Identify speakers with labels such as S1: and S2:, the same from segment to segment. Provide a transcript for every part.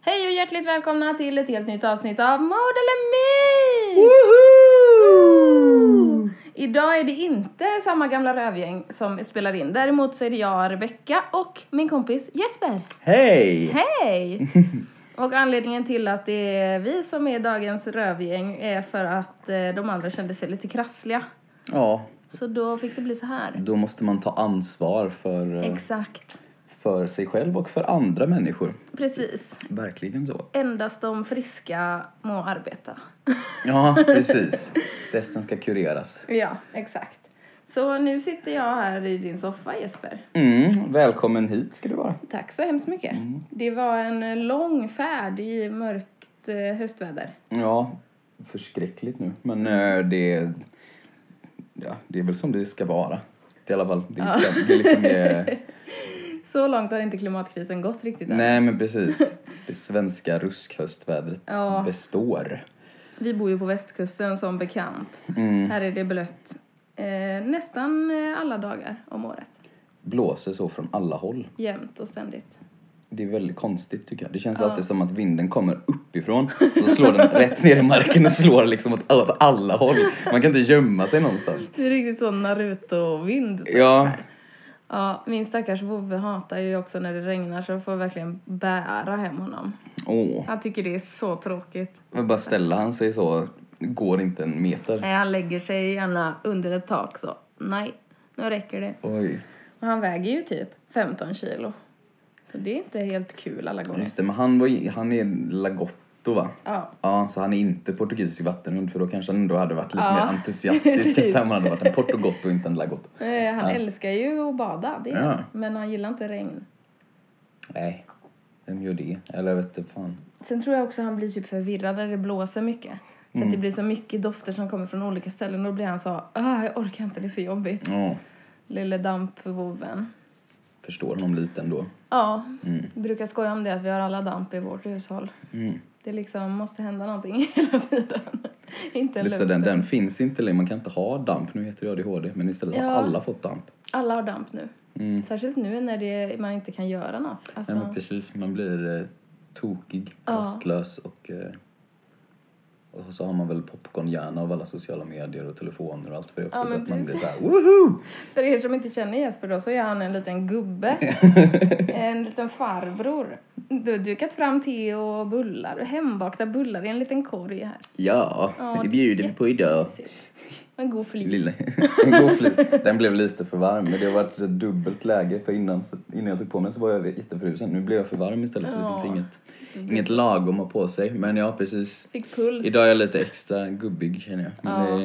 S1: Hej och hjärtligt välkomna till ett helt nytt avsnitt av Mord eller Myt! Woo! Idag är det inte samma gamla rövgäng som spelar in. Däremot så är det jag, Rebecka och min kompis Jesper.
S2: Hej!
S1: Hej! Och anledningen till att det är vi som är dagens rövgäng är för att eh, de andra kände sig lite krassliga.
S2: Ja,
S1: Så då fick det bli så här.
S2: då måste man ta ansvar för, eh,
S1: Exakt.
S2: för sig själv och för andra människor.
S1: Precis.
S2: Verkligen så.
S1: Endast de friska må arbeta.
S2: Ja, precis. Resten ska kureras.
S1: Ja, exakt. Så nu sitter jag här i din soffa Jesper.
S2: Mm, välkommen hit ska du vara.
S1: Tack så hemskt mycket. Det var en lång färd i mörkt eh, höstväder.
S2: Ja, förskräckligt nu. Men eh, det, ja, det är väl som det ska vara. Det är i alla fall, det är, stäm- det är liksom... eh,
S1: Så långt har inte klimatkrisen gått riktigt än.
S2: nej, men precis. Det svenska ruskhöstvädret
S1: Ja.
S2: består.
S1: Vi bor ju på västkusten som bekant. Här är det blött eh, nästan eh, alla dagar om året.
S2: Blåser så från alla håll.
S1: Jämt och ständigt.
S2: Det är väldigt konstigt tycker jag. Det känns alltid som att vinden kommer uppifrån och så slår den rätt ner i marken och slår liksom åt, åt alla håll. Man kan inte gömma sig någonstans.
S1: Det är riktigt sån Naruto-vind.
S2: Ja,
S1: Ja, min stackars vovve hatar ju också när det regnar så jag får verkligen bära hem honom.
S2: åh.
S1: Han tycker det är så tråkigt.
S2: Men bara ställa han sig så, går inte en meter.
S1: Nej, han lägger sig gärna under ett tak så. Nej, nu räcker det.
S2: Oj.
S1: Och han väger ju typ 15 kilo. Så det är inte helt kul alla gånger.
S2: Just det, men han, var, i- han är lagotto va?
S1: Ja.
S2: Ja, så han är inte portugisisk vattenhund för då kanske han ändå hade varit lite
S1: Ja.
S2: mer entusiastisk att han hade varit en portugotto och inte en lagotto.
S1: Eh, Han älskar ju att bada, det gör
S2: Ja.
S1: han. Men han gillar inte regn.
S2: Nej, vem gör det? Eller jag vet inte fan.
S1: Sen tror jag också han blir typ förvirrad när det blåser mycket. För
S2: Mm.
S1: att det blir så mycket dofter som kommer från olika ställen. Då blir han så, "Ah, jag orkar inte, det är för jobbigt.
S2: Ja,
S1: Lille dampvoven.
S2: förstår honom lite ändå.
S1: Ja,
S2: Mm.
S1: vi brukar skoja om det att vi har alla damp i vårt hushåll. Det liksom måste hända någonting hela tiden. inte en
S2: Lite så
S1: lugn
S2: den,
S1: stund.
S2: den finns inte längre, man kan inte ha damp. Nu heter det ADHD, men istället
S1: Ja.
S2: har alla fått damp.
S1: Alla har damp nu. Särskilt nu när det, man inte kan göra något. Alltså,
S2: Mm. Nej, men precis, man blir eh, tokig, rastlös och, eh, och så har man väl popcornhjärna av alla sociala medier och telefoner och allt för det också.
S1: Ja,
S2: så
S1: men
S2: att man blir
S1: precis.
S2: så här, woho!
S1: För er som inte känner Jesper då, så är han en liten gubbe. en liten farbror. Du har dukat fram te och bullar, hembakta bullar i en liten korg här.
S2: Ja,
S1: Ja,
S2: det bjuder vi på idag.
S1: jättemysigt. En god flis.
S2: Lilla, en god flis. Den blev lite för varm, men det har varit ett dubbelt läge. För innan, så, innan jag tog på mig så var jag jättefrusen. Nu blev jag för varm istället, så det
S1: Ja. Mm.
S2: finns inget, inget lagom att ha på sig. Men ja, precis.
S1: Fick puls.
S2: Idag är jag lite extra gubbig känner jag. Men
S1: Ja.
S2: det,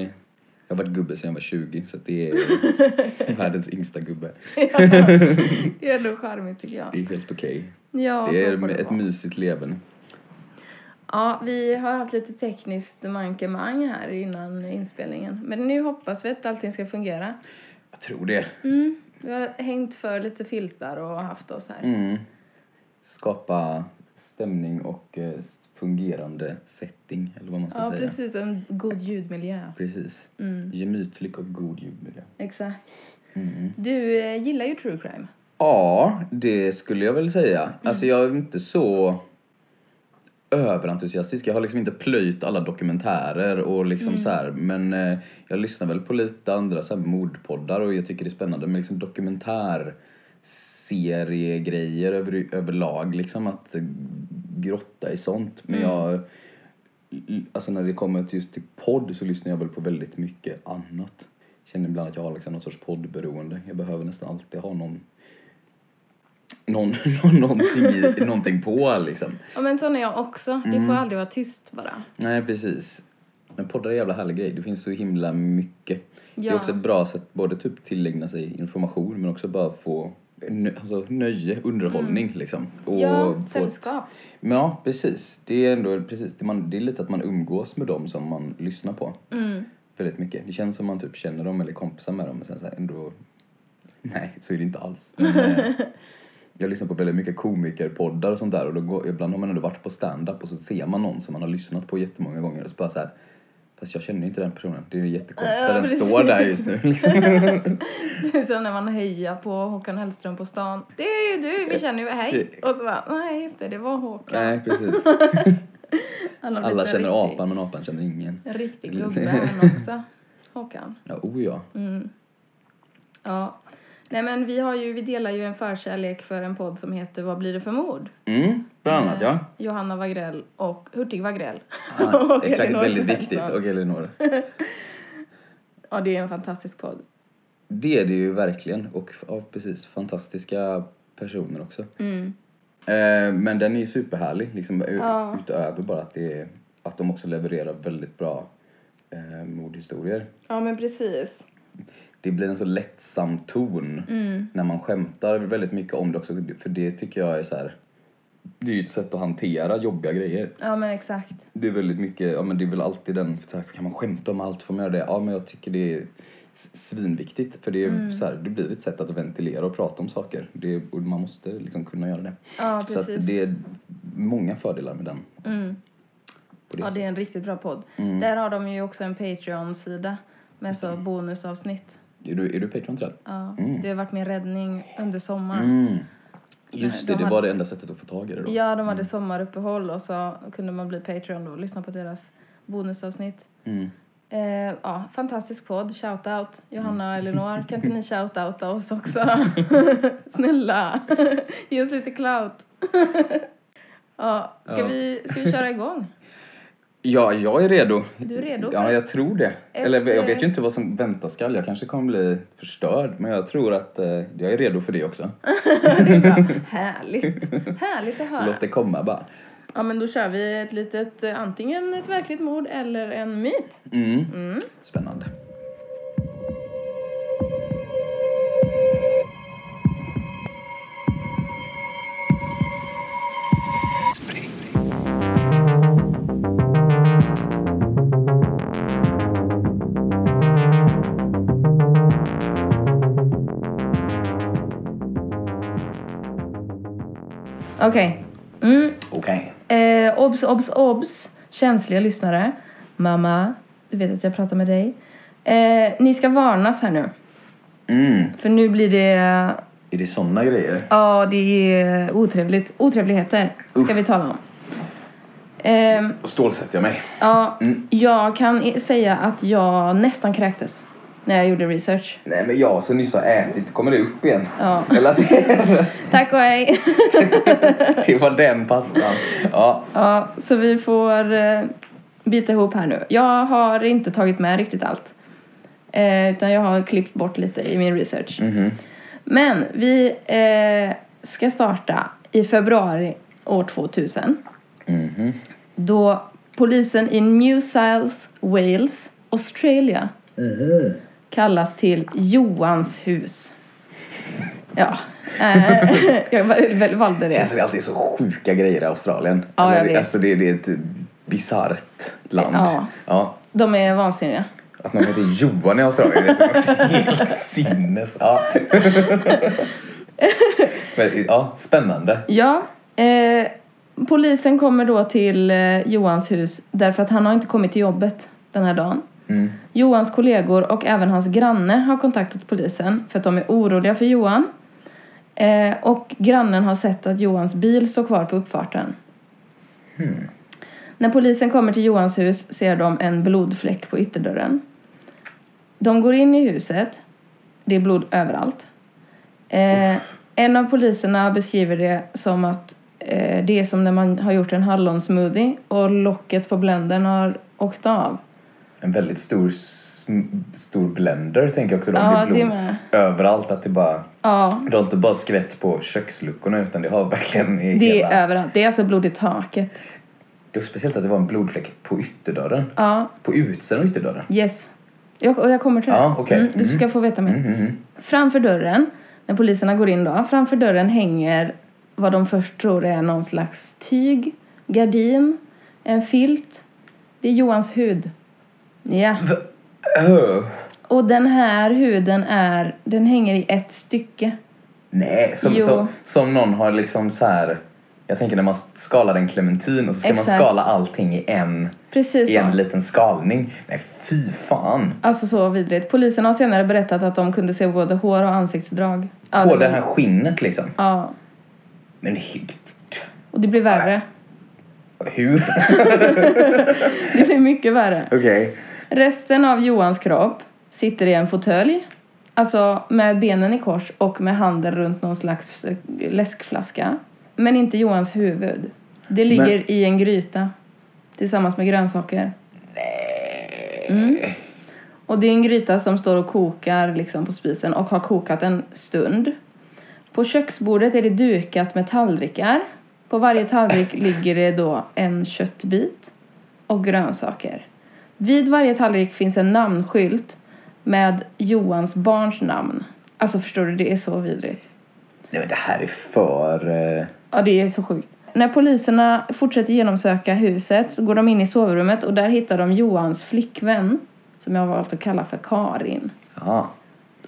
S2: jag har varit gubbe sedan jag var 20 så att det är världens yngsta gubbe.
S1: Det är ändå charmigt tycker jag.
S2: Det är helt okej.
S1: Ja,
S2: Det
S1: så får
S2: är
S1: det
S2: ett
S1: vara.
S2: mysigt leverne.
S1: Ja, vi har haft lite tekniskt mankemang här innan inspelningen. Men nu hoppas vi att allting ska fungera.
S2: Jag tror det.
S1: Vi har hängt för lite filtar och haft oss här.
S2: Mm. Skapa stämning och eh, fungerande setting eller vad man ska
S1: ja,
S2: säga.
S1: precis. Mm. En god ljudmiljö.
S2: Precis. Gemytlig och god ljudmiljö.
S1: Exakt.
S2: Mm.
S1: Du eh, gillar ju true crime.
S2: Ja, det skulle jag väl säga. Alltså jag är inte så överentusiastisk. Jag har liksom inte plöjt alla dokumentärer och liksom så här. Men eh, jag lyssnar väl på lite andra så här mordpoddar och jag tycker det är spännande med liksom dokumentär seriegrejer över, överlag liksom att grotta i sånt. Men jag, alltså när det kommer till just till podd så lyssnar jag väl på väldigt mycket annat. Känner ibland att jag har liksom något sorts poddberoende. Jag behöver nästan alltid ha någon, någon, någonting, i, någonting på liksom.
S1: Ja, men sån är jag också. Det
S2: Mm.
S1: får aldrig vara tyst bara.
S2: Nej, precis. Men poddar är en jävla härlig grej. Det finns så himla mycket. Det är
S1: Ja.
S2: också ett bra sätt både typ tillägna sig information men också bara få nö- alltså, nöje, underhållning liksom. Och
S1: Mm. Ja,
S2: få ett-
S1: sällskap.
S2: Men ja, precis. Det är ändå precis. Det, man, det är lite att man umgås med dem som man lyssnar på.
S1: Mm.
S2: Väldigt mycket. Det känns som man typ känner dem eller är kompisar med dem men sen så här ändå... Nej, så är det inte alls. Men, eh, jag lyssnar på väldigt mycket komikerpoddar och sånt där och då går, ibland har man ändå varit på stand-up och så ser man någon som man har lyssnat på jättemånga gånger och så bara så här Fast jag känner ju inte den personen. Det är ju jättekonstigt att
S1: Ja,
S2: den
S1: precis.
S2: står där just nu. Liksom.
S1: Sen när man hejar på Håkan Hellström på stan. Det är ju du, vi känner ju hej.
S2: Shit.
S1: Och så bara, nej just det, det var Håkan.
S2: Eh, Nej, precis.
S1: Han har
S2: Alla
S1: blivit en
S2: känner
S1: riktig-
S2: apan Mm. men apan känner ingen.
S1: En riktig gubbe han också. Håkan.
S2: Ja, oh ja.
S1: Mm. Ja. Nej men vi har ju, vi delar ju en förkärlek för en podd som heter Vad blir det för mord? Eh,
S2: Mm, bland annat ja.
S1: Johanna Wagrell och Hurtig Wagrell.
S2: Ah,
S1: Och
S2: exakt,
S1: Elinor
S2: väldigt
S1: Svensson.
S2: viktigt. Och Elinor.
S1: Ja, det är en fantastisk podd.
S2: Det är det ju verkligen. Och ja, precis, fantastiska personer också. Eh, men den är ju superhärlig. Liksom, u- Utöver bara att, det är, att de också levererar väldigt bra eh, mordhistorier.
S1: Ja, men precis.
S2: det blir en så lättsam ton när man skämtar väldigt mycket om det också. För det tycker jag är så här. Det är ju ett sätt att hantera jobbiga grejer.
S1: Ja, men exakt.
S2: Det är väldigt mycket, ja men det är väl alltid den, så här, kan man skämta om allt? Får man göra det? Ja men jag tycker det är s- svinviktigt. För det, är
S1: Mm.
S2: så här, det blir ett sätt att ventilera och prata om saker. Det, och man måste liksom kunna göra det.
S1: Ja,
S2: så att
S1: precis. Mm.
S2: det är många fördelar med den. På det
S1: Ja, det
S2: sättet.
S1: är en riktigt bra podd. Där har de ju också en Patreon-sida med så bonusavsnitt.
S2: Är, du, är du Patreon till det?
S1: Ja, Det har varit min räddning under sommaren.
S2: Just
S1: de
S2: det, det
S1: har-
S2: var det enda sättet att få tag i det då.
S1: Ja, de hade sommaruppehåll och så kunde man bli Patreon då och lyssna på deras bonusavsnitt. Eh, ja, fantastisk podd. Shoutout Johanna och Elinor. Kan inte ni shoutouta oss också? Snälla, ge oss lite clout. ja, ska,
S2: Ja.
S1: Vi, ska vi köra igång?
S2: Ja, jag är redo.
S1: Du är redo för
S2: Ja, jag tror det. Eller jag vet
S1: eh,
S2: ju inte vad som väntar skall. Jag kanske kommer bli förstörd, men jag tror att eh, jag är redo för det också.
S1: Det är bra. Härligt. Härligt att höra.
S2: Låt det komma bara.
S1: Ja, men då kör vi ett litet, eh, antingen ett verkligt mord eller en myt.
S2: Spännande.
S1: Okej. Mm.
S2: Okej.
S1: Eh, obs, obs, obs, känsliga lyssnare. Mamma, du vet att jag pratar med dig. Eh, ni ska varnas här nu. För nu blir det...
S2: Är det såna grejer?
S1: Ja, det är otrevligt. Otrevligheter ska vi tala om. Ehm,
S2: Då stålsätter jag mig.
S1: ja, Jag kan i- säga att jag nästan kräktes när jag gjorde research.
S2: Nej, men jag som nyss har ätit, kommer det upp igen?
S1: Ja.
S2: Eller att det,
S1: Tack och hej!
S2: det var den pastan. Ja.
S1: Ja, så vi får eh, bita ihop här nu. Jag har inte tagit med riktigt allt. Eh, utan jag har klippt bort lite i min research. Men vi eh, ska starta i februari år 2000. Då polisen i New South Wales, Australia kallas till Johans hus. Ja, eh, jag val- valde det.
S2: Känns som det alltid är så sjuka grejer i Australien.
S1: Ja,
S2: Eller,
S1: jag vet.
S2: Alltså det, det är ett bisarrt land.
S1: Ja.
S2: ja.
S1: De är vansinniga.
S2: Att någon heter Johan i Australien är som också helt sinnes... Ja. Men, ja, spännande.
S1: Ja. Eh, polisen kommer då till eh, Johans hus därför att han har inte kommit till jobbet den här dagen. Johans kollegor och även hans granne har kontaktat polisen för att de är oroliga för Johan. Eh, och grannen har sett att Johans bil står kvar på uppfarten. När polisen kommer till Johans hus ser de en blodfläck på ytterdörren. De går in i huset. Det är blod överallt. Eh, En av poliserna beskriver det som att eh, det är som när man har gjort en hallonsmoothie och locket på blendern har åkt av.
S2: En väldigt stor, sm- stor blender tänker jag också. Då.
S1: Ja,
S2: det är
S1: det
S2: blod
S1: med.
S2: överallt. Att det bara...
S1: Ja,
S2: Det har inte bara skvätt på köksluckorna utan det har verkligen i
S1: det
S2: hela...
S1: är överallt. Det är alltså blod i taket.
S2: Det var speciellt att det var en blodfläck på ytterdörren.
S1: Ja,
S2: På utsidan av ytterdörren.
S1: yes. Jag, och jag kommer till det.
S2: Ja, okej.
S1: mm, du ska få veta mer. Framför dörren, när poliserna går in då, framför dörren hänger vad de först tror är någon slags tyg, gardin, en filt. Det är Johans hud. Ja.
S2: Öh.
S1: Och den här huden är, den hänger i ett stycke.
S2: Nej, som,
S1: Jo.
S2: som, som någon har liksom så här... Jag tänker när man skalar en clementin och så ska man
S1: Exakt.
S2: skala allting i en,
S1: Precis
S2: i en
S1: så.
S2: liten skalning. Nej, fy fan.
S1: Alltså så vidrigt. Polisen har senare berättat att de kunde se både hår och ansiktsdrag. Ja,
S2: På
S1: det
S2: det
S1: var-
S2: här skinnet liksom.
S1: Ja.
S2: Men hy-
S1: Och det blir värre.
S2: hur?
S1: Det blir mycket värre.
S2: Okej.
S1: Resten av Johans kropp sitter i en fåtölj. Alltså med benen i kors och med handen runt någon slags eh, läskflaska. Men inte Johans huvud. Det ligger i en gryta tillsammans med grönsaker. Nej. Mm. Och det är en gryta som står och kokar liksom på spisen och har kokat en stund. På köksbordet är det dukat med tallrikar. På varje tallrik ligger det då en köttbit och grönsaker. Vid varje tallrik finns en namnskylt med Johans barns namn. Alltså förstår du, det är så vidrigt.
S2: Nej men det här är för... eh,
S1: Ja, det är så sjukt. När poliserna fortsätter genomsöka huset så går de in i sovrummet och där hittar de Johans flickvän, som jag har valt att kalla för Karin.
S2: Ja.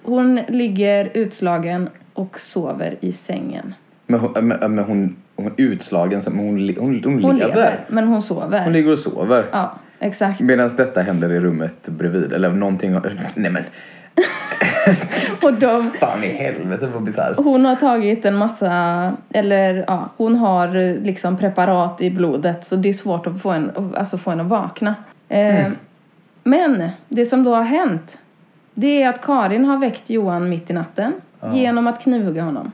S1: Hon ligger utslagen och sover i sängen.
S2: Men, hon- men, men hon, hon är utslagen, så- men hon, le- hon, hon,
S1: Hon
S2: lever.
S1: lever, men hon sover.
S2: Hon ligger och sover.
S1: ja, exakt.
S2: Medan detta händer i rummet bredvid. Eller någonting... har- Nej men,
S1: Och de,
S2: fan i helvete vad bisarrt.
S1: Hon har tagit en massa, eller ja, hon har eh, liksom preparat i blodet så det är svårt att få en, alltså få en att vakna. Eh, Men det som då har hänt, det är att Karin har väckt Johan mitt i natten genom att knivhugga honom.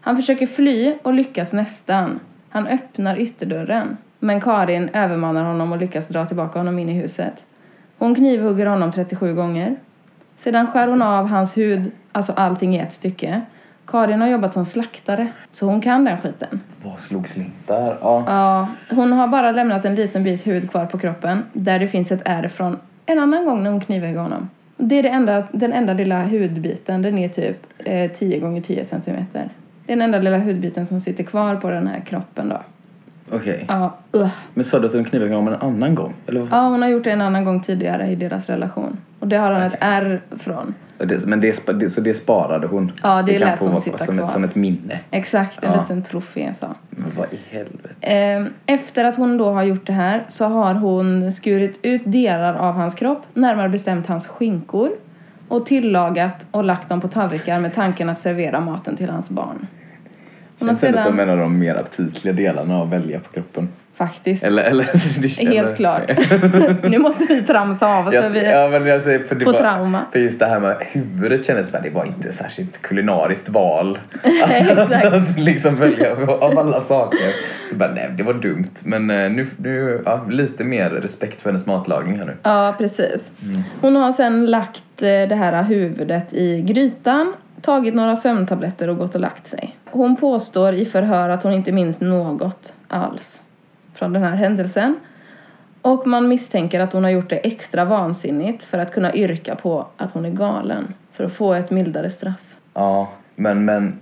S1: Han försöker fly och lyckas nästan. Han öppnar ytterdörren. Men Karin övermannar honom och lyckas dra tillbaka honom in i huset. Hon knivhugger honom 37 gånger. Sedan skär hon av hans hud, alltså allting i ett stycke. Karin har jobbat som slaktare, så hon kan den skiten.
S2: Vad slog slintar? Ja.
S1: Ja, hon har bara lämnat en liten bit hud kvar på kroppen där det finns ett ärr från en annan gång när hon knivhögg honom. Det är det enda, den enda lilla hudbiten, den är typ eh, 10 gånger 10 centimeter. Det är den enda lilla hudbiten som sitter kvar på den här kroppen då.
S2: Okej.
S1: Ja, ugh.
S2: Men sa du att hon knivhögg honom en annan gång? Eller vad?
S1: ja hon har gjort det en annan gång tidigare i deras relation. Och det har han ett
S2: Okej.
S1: ärr från.
S2: Det, men det, spa- det, så det sparade hon?
S1: Ja, det
S2: kan
S1: lät
S2: få
S1: hon
S2: vara
S1: sitta
S2: som
S1: kvar.
S2: Ett, som ett minne?
S1: Exakt, en
S2: Ja.
S1: liten trofé så.
S2: Men vad i helvete?
S1: Eh, Efter att hon då har gjort det här så har hon skurit ut delar av hans kropp, närmare bestämt hans skinkor och tillagat och lagt dem på tallrikar med tanken att servera maten till hans barn. Hon har
S2: Känns ändå som
S1: sedan,
S2: en av de mer aptitliga delarna att välja på kroppen.
S1: faktiskt,
S2: Eller? eller det- eller-
S1: helt klart. nu måste vi tramsa av oss. för
S2: Jag,
S1: Alltså, vi,
S2: ja, men jag säger, för det
S1: på
S2: var,
S1: trauma.
S2: För just det här med huvudet kändes bara, det var inte särskilt kulinariskt val. Att, att,
S1: Exakt.
S2: att liksom välja av alla saker. Så bara, nej det var dumt. Men eh, nu, nu ja, lite mer respekt för hennes matlagning här nu.
S1: Ja, precis. Hon har sen lagt eh, det här huvudet i grytan, tagit några sömntabletter och gått och lagt sig. Hon påstår i förhör att hon inte minns något alls från den här händelsen. Och man misstänker att hon har gjort det extra vansinnigt för att kunna yrka på att hon är galen, för att få ett mildare straff.
S2: Ja, men, men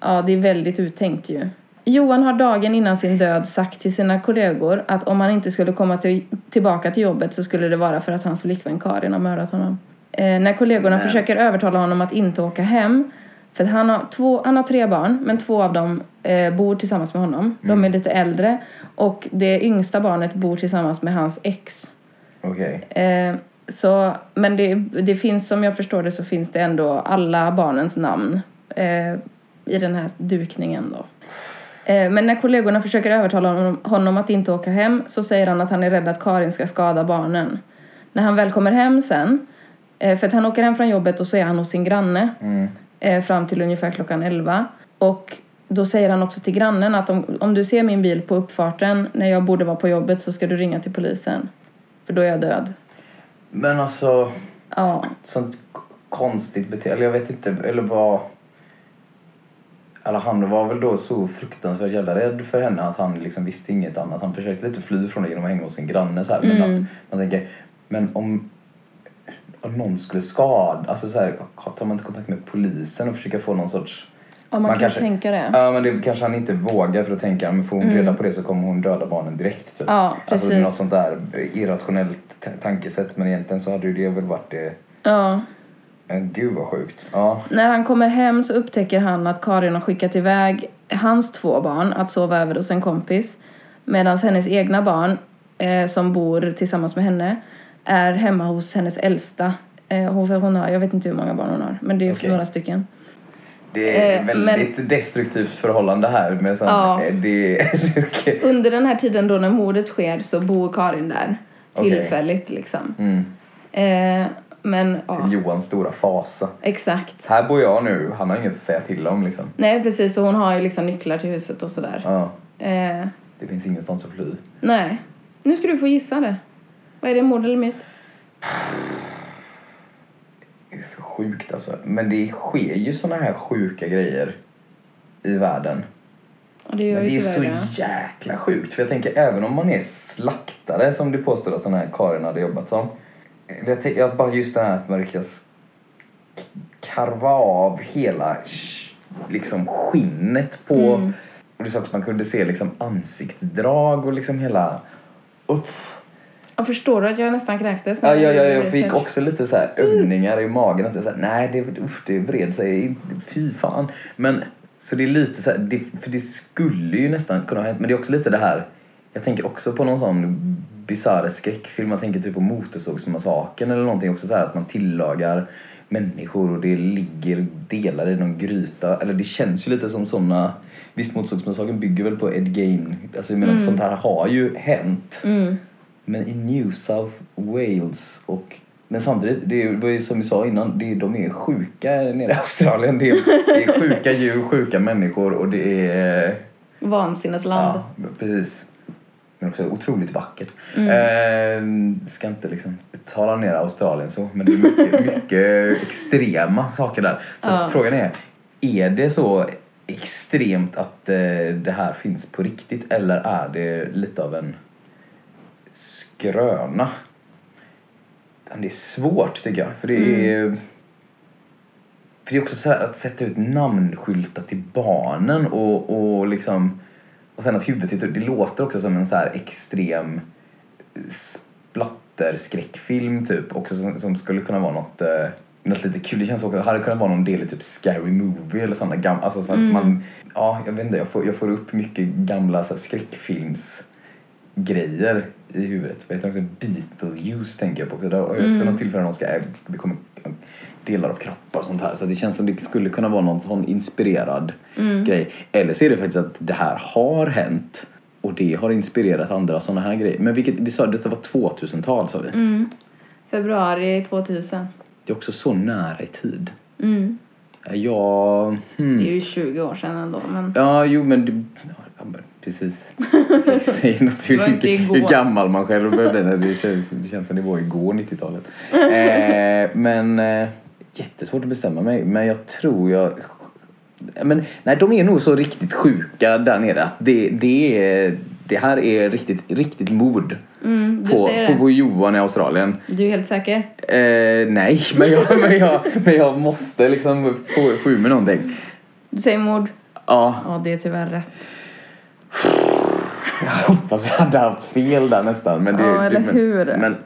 S1: Ja, det är väldigt uttänkt ju. Johan har dagen innan sin död sagt till sina kollegor att om han inte skulle komma till, tillbaka till jobbet så skulle det vara för att hans flickvän Karin har mördat honom. Eh, när kollegorna försöker övertala honom att inte åka hem, för att han har, två, han har tre barn, men två av dem eh, bor tillsammans med honom. De är lite äldre och det yngsta barnet bor tillsammans med hans ex.
S2: okej.
S1: Eh, så, men det, det finns, som jag förstår det, så finns det ändå alla barnens namn eh, i den här dukningen då. Eh, Men när kollegorna försöker övertala honom- honom att inte åka hem så säger han att han är rädd att Karin ska skada barnen. När han väl kommer hem sen, eh, för att han åker hem från jobbet och så är han hos sin granne. eh, fram till ungefär klockan 11. Och då säger han också till grannen att om, om du ser min bil på uppfarten när jag borde vara på jobbet så ska du ringa till polisen. För då är jag död.
S2: Men alltså,
S1: Ja,
S2: sånt k- konstigt beteende. Eller jag vet inte, eller vad... Eller han var väl då så fruktansvärt jävla rädd för henne att han liksom visste inget annat. Han försökte lite fly från det genom att hänga hos sin granne så här.
S1: Mm.
S2: Men att man tänker, men om, om någon skulle skada, alltså så här, tar man inte kontakt med polisen och försöker få någon sorts...
S1: ja man, kan kanske... tänka det.
S2: Ja, men det kanske han inte vågar för att tänka, men får hon reda på det så kommer hon döda barnen direkt typ.
S1: Mm. Ja,
S2: Alltså
S1: precis.
S2: något sånt där irrationellt t- tankesätt, men egentligen så hade ju det väl varit det
S1: Ja.
S2: men gud vad sjukt. Ja.
S1: När han kommer hem så upptäcker han att Karin har skickat iväg hans två barn att sova över hos en kompis. Medan hennes egna barn, eh, som bor tillsammans med henne, är hemma hos hennes äldsta. Eh, hon, hon har, jag vet inte hur många barn hon har, men det är
S2: Okej.
S1: några stycken.
S2: Det är
S1: Eh,
S2: väldigt destruktivt förhållande här. Men sen,
S1: Ja.
S2: eh, det, det, okej.
S1: Under den här tiden då när mordet sker så bor Karin där.
S2: Okej.
S1: Tillfälligt liksom.
S2: mm.
S1: Eh, men ja,
S2: Till Johans stora fasa.
S1: exakt.
S2: Här bor jag nu, han har inget att säga till om liksom.
S1: Nej precis, och hon har ju liksom nycklar till huset och sådär.
S2: Ja.
S1: Eh,
S2: Det finns ingenstans att fly.
S1: nej. Nu ska du få gissa det. Vad är det, mord eller myt?
S2: Det är för sjukt alltså. Men det sker ju såna här sjuka grejer i världen.
S1: Ja, det gör
S2: Men
S1: ju
S2: det är så
S1: tyvärr det.
S2: jäkla sjukt. För jag tänker, även om man är slaktare som det påstår att sån här Karin hade jobbat som. eller Jag tänker att bara just det här att man lyckas k- karva av hela sh- liksom skinnet på...
S1: Mm.
S2: Och det är så att man kunde se liksom ansiktsdrag och liksom hela... Upp.
S1: Jag förstår du att jag nästan kräktes? när
S2: Ja, ja, ja,
S1: gjorde
S2: jag
S1: Alltså, det Mm.
S2: fick
S1: först?
S2: också lite så här ömningar i magen. Att jag så här, nej, det, usch, det vred sig. inte- Fy fan. Men så det är lite så här, det, för det skulle ju nästan kunna ha hänt. Men det är också lite det här, jag tänker också på någon sån bisarr skräckfilm. Man tänker typ på Motorsågsmassakern eller någonting också så här att man tillagar människor och det ligger delar i någon gryta. Eller det känns ju lite som såna visst Motorsågsmassakern bygger väl på Ed Gein. Alltså jag menar
S1: Mm.
S2: sånt här har ju hänt. Men i New South Wales och... Men samtidigt, det var ju som vi sa innan, det, de är sjuka nere i Australien. Det är, det är sjuka djur, sjuka människor och det är...
S1: Vansinnesland.
S2: Ja, precis. Men också otroligt vackert. Mm. ska inte liksom betala ner Australien så, men det är mycket, mycket extrema saker där. Så att frågan är, är det så extremt att eh, det här finns på riktigt eller är det lite av en skröna? Men Det är svårt tycker jag, för det är... För det är också så här att sätta ut namnskyltar till barnen och, och liksom... Och sen att huvudet tittar ut, det låter också som en så här extrem eh, splatterskräckfilm typ. Också som, som skulle kunna vara något, eh, något lite kul. Det känns också, det hade kunnat vara någon del i typ Scary Movie eller sådana gamla, alltså så att man... Ja, jag vet inte, jag får, jag får upp mycket gamla så här, skräckfilms grejer i huvudet. Vad heter det också? Beetlejuice tänker jag på också. Där har jag också något tillfälle när de ska, äh, det kommer delar av kroppar och sånt här. Så det känns som det skulle kunna vara någon sån inspirerad grej. Eller så är det faktiskt att det här har hänt och det har inspirerat andra såna här grejer. Men vilket, vi sa detta var 2000-tal sa vi.
S1: Februari 2000.
S2: Det är också så nära i tid. Ja, hmm.
S1: Det är ju 20 år sedan ändå, men...
S2: Ja, jo men... Det, ja, men precis. Säg- Säg något
S1: var inte
S2: hur,
S1: igår.
S2: hur gammal man själv börjar bli. när Det känns, det känns som det var igår, 90-talet. Eh, men eh, jättesvårt att bestämma mig. Men jag tror jag... Men, nej, de är nog så riktigt sjuka där nere. att Det, det, är, det här är riktigt, riktigt mord.
S1: Mm, du
S2: på,
S1: säger
S2: på,
S1: det.
S2: på Johan i Australien.
S1: Du är helt säker?
S2: Eh, nej, men jag, men, jag, men jag måste liksom få, få ur mig någonting.
S1: Du säger mord?
S2: Ja,
S1: Ja, det är tyvärr rätt.
S2: Jag hoppas jag hade haft fel där nästan. Men det,
S1: Ja, eller
S2: det, men,
S1: hur?
S2: Men,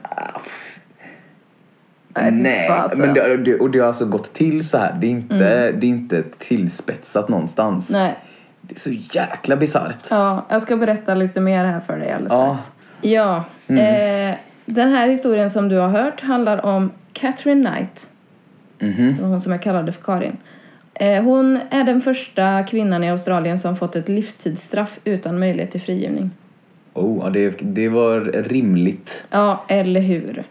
S1: Nej, fy
S2: nej,
S1: fasen. Mm.
S2: men det, det, och det har alltså gått till så här. Det är inte, det är inte tillspetsat någonstans.
S1: Nej.
S2: Det är så jäkla bisarrt.
S1: Ja, jag ska berätta lite mer här för dig alldeles
S2: Ja. Mm.
S1: strax. Ja. Eh, den här historien som du har hört handlar om Catherine Knight.
S2: Mhm.
S1: Det var Hon som jag kallade för Karin. Eh, hon är den första kvinnan i Australien som fått ett livstidsstraff utan möjlighet till frigivning.
S2: Oh, ja, det, det var rimligt.
S1: Ja, eller hur?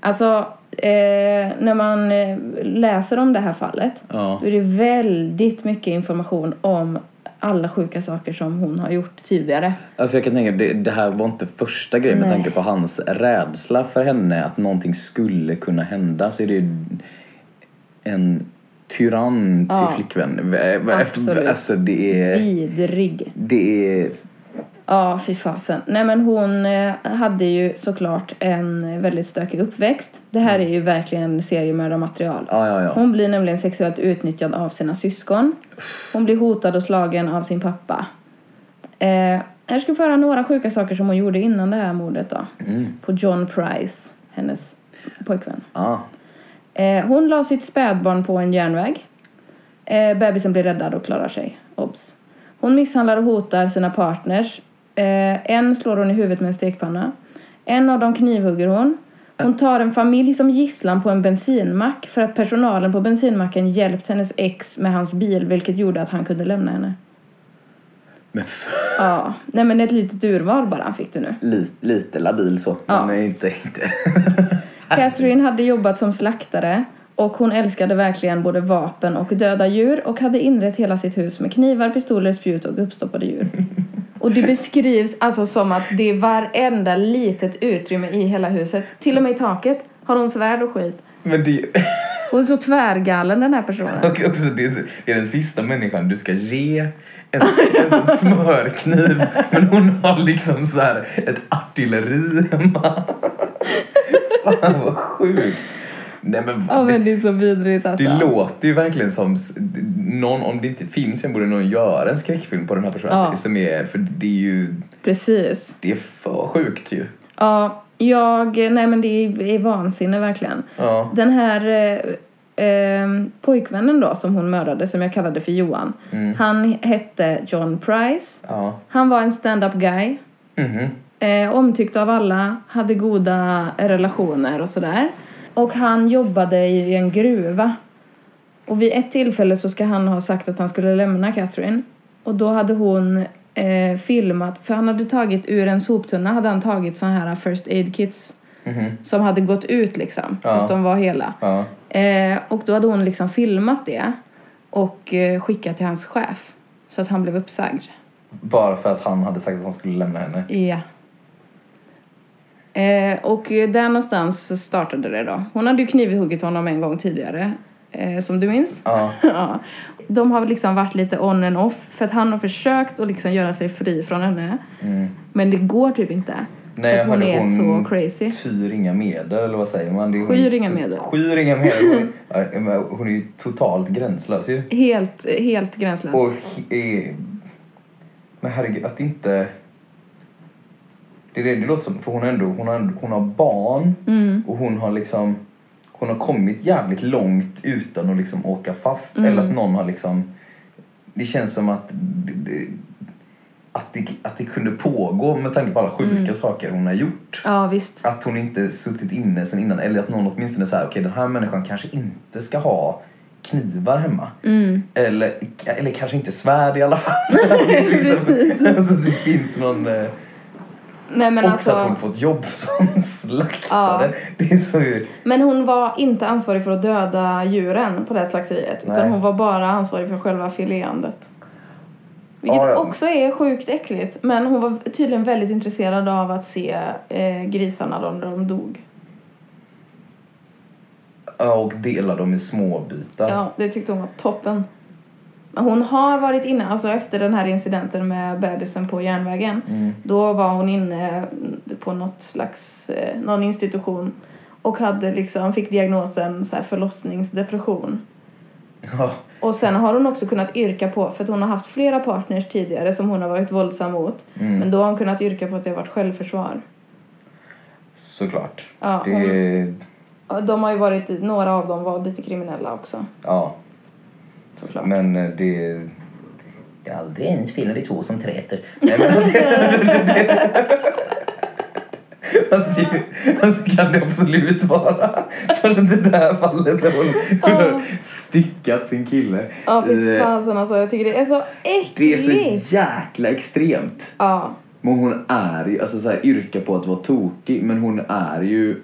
S1: Alltså, eh, när man eh, läser om det här fallet
S2: Ja.
S1: då är det väldigt mycket information om alla sjuka saker som hon har gjort tidigare.
S2: Ja, för jag kan tänka, det, det här var inte första grejen med
S1: Nej.
S2: tanke på hans rädsla för henne att någonting skulle kunna hända så är det ju en tyrann till
S1: Ja.
S2: flickvän. Vä- vä-
S1: Absolut.
S2: Alltså det är...
S1: Vidrig.
S2: Det är...
S1: Ja, fy fasen. Nej, men hon eh, hade ju såklart en väldigt stökig uppväxt. Det här är ju verkligen seriemördarmaterial.
S2: Ja, ja, ja.
S1: Hon blir nämligen sexuellt utnyttjad av sina syskon. Hon blir hotad och slagen av sin pappa. Eh, här ska vi få höra några sjuka saker som hon gjorde innan det här mordet då. På John Price, hennes pojkvän.
S2: Ja.
S1: Eh, hon la sitt spädbarn på en järnväg. Eh, bebisen blir räddad och klarar sig. Obs. Hon misshandlar och hotar sina partners. Eh, en slår hon i huvudet med en stekpanna. En av dem knivhugger hon. Hon tar en familj som gisslan på en bensinmack för att personalen på bensinmacken hjälpt hennes ex med hans bil vilket gjorde att han kunde lämna henne.
S2: Men f-
S1: Ja, nej men ett litet urval bara fick du nu.
S2: li, lite labil så.
S1: Ja.
S2: Men inte... inte.
S1: Catherine hade jobbat som slaktare och hon älskade verkligen både vapen och döda djur och hade inrett hela sitt hus med knivar, pistoler, spjut och uppstoppade djur. Och det beskrivs alltså som att det är varenda litet utrymme i hela huset. Till och med i taket har hon svärd och skit.
S2: Men det är ju...
S1: Hon är så tvärgallen den här personen.
S2: Och också, det är, så- det är den sista människan du ska ge en, en smörkniv. Men hon har liksom så här ett artilleri hemma. Fan vad sjukt. Nej men,
S1: Ja men
S2: det,
S1: det är så vidrigt alltså.
S2: det låter ju verkligen som s- någon, om det inte finns en borde någon göra en skräckfilm på den här personen.
S1: Ja.
S2: Som är, för det är ju,
S1: Precis.
S2: det är för sjukt ju.
S1: Ja, jag... Nej men det är, är vansinne verkligen.
S2: Ja.
S1: Den här eh, eh, pojkvännen då som hon mördade, som jag kallade för Johan. Han hette John Price.
S2: Ja.
S1: Han var en stand-up guy.
S2: Mhm.
S1: Eh, omtyckt av alla, hade goda relationer och sådär. Och han jobbade i en gruva. Och vid ett tillfälle så ska han ha sagt att han skulle lämna Catherine. Och då hade hon eh, filmat, för han hade tagit ur en soptunna hade han tagit sådana här first aid kits. Som hade gått ut liksom,
S2: Mhm. Ja.
S1: fast de var hela.
S2: Ja.
S1: Eh, och då hade hon liksom filmat det och eh, skickat till hans chef. Så att han blev uppsagd.
S2: Bara för att han hade sagt att han skulle lämna henne.
S1: Ja. Eh, och där någonstans startade det då. Hon hade ju knivhuggit honom en gång tidigare, eh, som du minns.
S2: Ja.
S1: Ja. De har väl liksom varit lite on and off för att han har försökt att liksom göra sig fri från henne. Men det går typ inte. för
S2: Mm. Nej,
S1: att hon
S2: hörde
S1: är
S2: hon
S1: så crazy.
S2: Syr inga medel, eller vad säger man? Det är hon-
S1: Skyr inga medel.
S2: Skyr inga medel. Ja, men hon är ju totalt gränslös ju.
S1: Helt, helt gränslös.
S2: Och he- är... Men herregud, att inte... Det, är det, det låter som, för hon, är ändå, hon, har, hon har barn
S1: Mm.
S2: och hon har liksom... Hon har kommit jävligt långt utan att liksom åka fast.
S1: Mm.
S2: Eller att någon har liksom... Det känns som att... det- det- Att det, att det kunde pågå med tanke på alla sjuka
S1: Mm.
S2: saker hon har gjort.
S1: Ja, visst.
S2: Att hon inte suttit inne sen innan. Eller att någon åtminstone säger okej den här människan kanske inte ska ha knivar hemma.
S1: Mm.
S2: Eller, eller kanske inte svärd i alla fall. liksom, alltså, det finns någon... eh,
S1: Nej, men
S2: också
S1: alltså,
S2: att hon fått jobb som slaktare. Det är så ju...
S1: Men hon var inte ansvarig för att döda djuren på det här slakteriet.
S2: Nej.
S1: Utan hon var bara ansvarig för själva fileandet. Vilket
S2: Ja, ja.
S1: också är sjukt äckligt. Men hon var tydligen väldigt intresserad av att se eh, grisarna då när de dog.
S2: Ja, Och dela dem i små bitar.
S1: Ja, det tyckte hon var toppen. Men hon har varit inne, alltså efter den här incidenten med bebisen på järnvägen.
S2: Mm.
S1: Då var hon inne eh, på något slags, eh, någon institution. Och hade liksom, fick diagnosen så här förlossningsdepression.
S2: Ja.
S1: Och sen har hon också kunnat yrka på, för att hon har haft flera partners tidigare som hon har varit våldsam mot.
S2: Mm.
S1: Men då har hon kunnat yrka på att det har varit självförsvar.
S2: Såklart.
S1: Ja,
S2: det är...
S1: Och De har ju varit, några av dem var lite kriminella också,
S2: Ja.
S1: såklart.
S2: Men eh, det... Det är aldrig ens fel när det är två som träter. Nej, men det, det, det, alltså, det, alltså, kan det absolut vara. Som det där fallet där hon, hon har styckat sin kille.
S1: Ja, fy
S2: Eh,
S1: fasen alltså. Jag tycker det är så
S2: det är
S1: äckligt.
S2: så jäkla extremt.
S1: Ja,
S2: Men hon är ju, alltså så här, yrkar på att vara tokig, men hon är ju